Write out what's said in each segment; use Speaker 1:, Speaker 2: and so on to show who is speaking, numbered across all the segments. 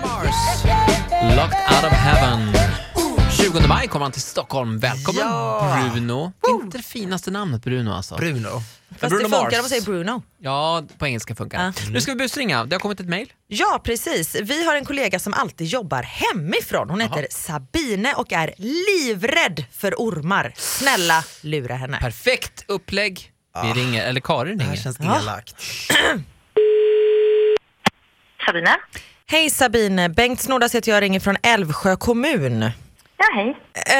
Speaker 1: Stars, Locked Out of Heaven. 20 maj kommer han till Stockholm. Välkommen
Speaker 2: Ja.
Speaker 1: Bruno. Inte det finaste namnet Bruno alltså.
Speaker 2: Bruno.
Speaker 3: Fast
Speaker 1: Bruno
Speaker 3: det funkar
Speaker 1: Mars.
Speaker 3: om man säger Bruno.
Speaker 1: Ja, på engelska funkar det. Nu ska vi busringa. Det har kommit ett mejl.
Speaker 3: Ja precis, vi har en kollega som alltid jobbar hemifrån. Hon heter Sabine och är livrädd för ormar. Snälla lura henne.
Speaker 1: Perfekt upplägg. Vi ringer, eller Karin
Speaker 2: Ah. Det här
Speaker 1: ringer.
Speaker 2: känns elakt.
Speaker 4: Sabine?
Speaker 3: Hej Sabine, Bengt Snordas heter jag ringer från Älvsjö kommun.
Speaker 4: Ja, hej.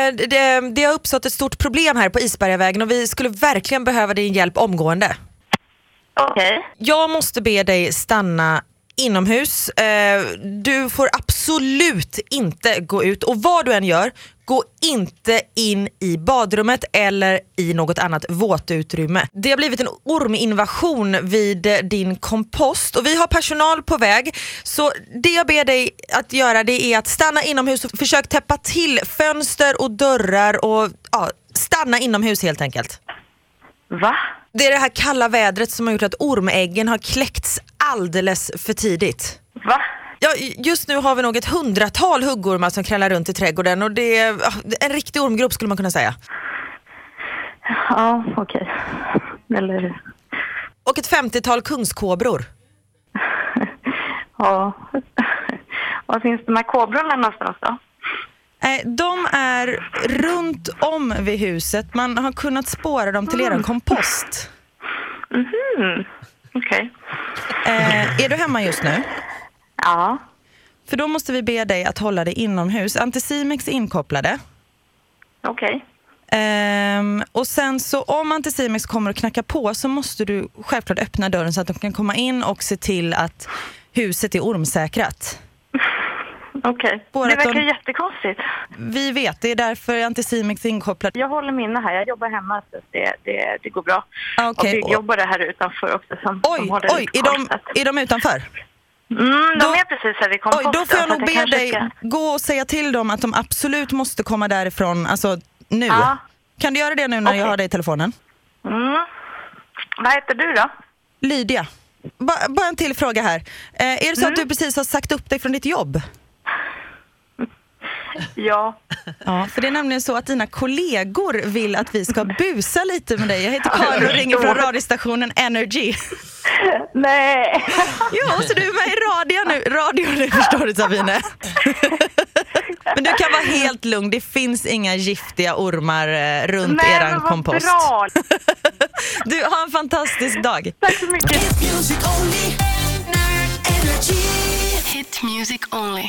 Speaker 3: Eh, Det, det har uppstått ett stort problem här på Isbergavägen och vi skulle verkligen behöva din hjälp omgående.
Speaker 4: Okej.
Speaker 3: Jag måste be dig stanna inomhus. Eh, Du får absolut inte gå ut och vad du än gör, gå inte in i badrummet eller i något annat våtutrymme. Det har blivit en orminvasion vid eh, din kompost och vi har personal på väg. Så det jag ber dig att göra det är att stanna inomhus och försök täppa till fönster och dörrar och ja, stanna inomhus helt enkelt.
Speaker 4: Va?
Speaker 3: Det är det här kalla vädret som har gjort att ormäggen har kläckts alldeles för tidigt.
Speaker 4: Va?
Speaker 3: Ja, just nu har vi nog ett hundratal huggormar som krallar runt i trädgården och det är ah, en riktig ormgrupp skulle man kunna säga.
Speaker 4: Ja, okej. Eller...
Speaker 3: Och ett femtiotal kungskobror.
Speaker 4: Ja. Var finns de här kobrorna någonstans då?
Speaker 3: Eh, De är runt om vid huset. Man har kunnat spåra dem till er kompost.
Speaker 4: Okej.
Speaker 3: Eh, är du hemma just nu?
Speaker 4: Ja.
Speaker 3: För då måste vi be dig att hålla dig inomhus. Anticimex är inkopplade.
Speaker 4: Okej.
Speaker 3: Ehm, och sen så om Anticimex kommer och knackar på så måste du självklart öppna dörren så att de kan komma in och se till att huset är ormsäkrat.
Speaker 4: Okej.
Speaker 3: Spårat
Speaker 4: Det verkar
Speaker 3: dem.
Speaker 4: jättekonstigt.
Speaker 3: Vi vet, det är därför Anticimex är inkopplad.
Speaker 4: Jag håller minne här. Jag jobbar hemma så att det, det, det går bra.
Speaker 3: Ah, okej.
Speaker 4: Och vi jobbar här utanför också som,
Speaker 3: Oj,
Speaker 4: som håller
Speaker 3: oj,
Speaker 4: ut
Speaker 3: är de,
Speaker 4: korset.
Speaker 3: är de utanför?
Speaker 4: Mm, de
Speaker 3: då-
Speaker 4: är precis här vid
Speaker 3: Oj,
Speaker 4: komposten.
Speaker 3: då får jag
Speaker 4: så
Speaker 3: nog
Speaker 4: att
Speaker 3: be
Speaker 4: kanske
Speaker 3: dig
Speaker 4: ska-
Speaker 3: gå och säga till dem att de absolut måste komma därifrån, alltså nu.
Speaker 4: Ja.
Speaker 3: Kan du göra det nu när jag
Speaker 4: Okej.
Speaker 3: har dig i telefonen?
Speaker 4: Mm. Vad heter du då?
Speaker 3: Lydia, ba, bara en till fråga här. Eh, är det
Speaker 4: Mm.
Speaker 3: så att du precis har sagt upp dig från ditt jobb?
Speaker 4: Ja.
Speaker 3: Ja, för det är nämligen så att dina kollegor vill att vi ska busa lite med dig. Jag heter Karin och ringer från radiostationen Energy.
Speaker 4: Nej.
Speaker 3: Jo, så du är med i radio nu, radio nu förstår du Sabine. Men du kan vara helt lugn, det finns inga giftiga ormar eh, runt
Speaker 4: Nej, men
Speaker 3: eran
Speaker 4: vad
Speaker 3: kompost.
Speaker 4: bra.
Speaker 3: Du, har en fantastisk dag.
Speaker 4: Tack så mycket.
Speaker 5: Music only. Energy.
Speaker 6: Hit music only.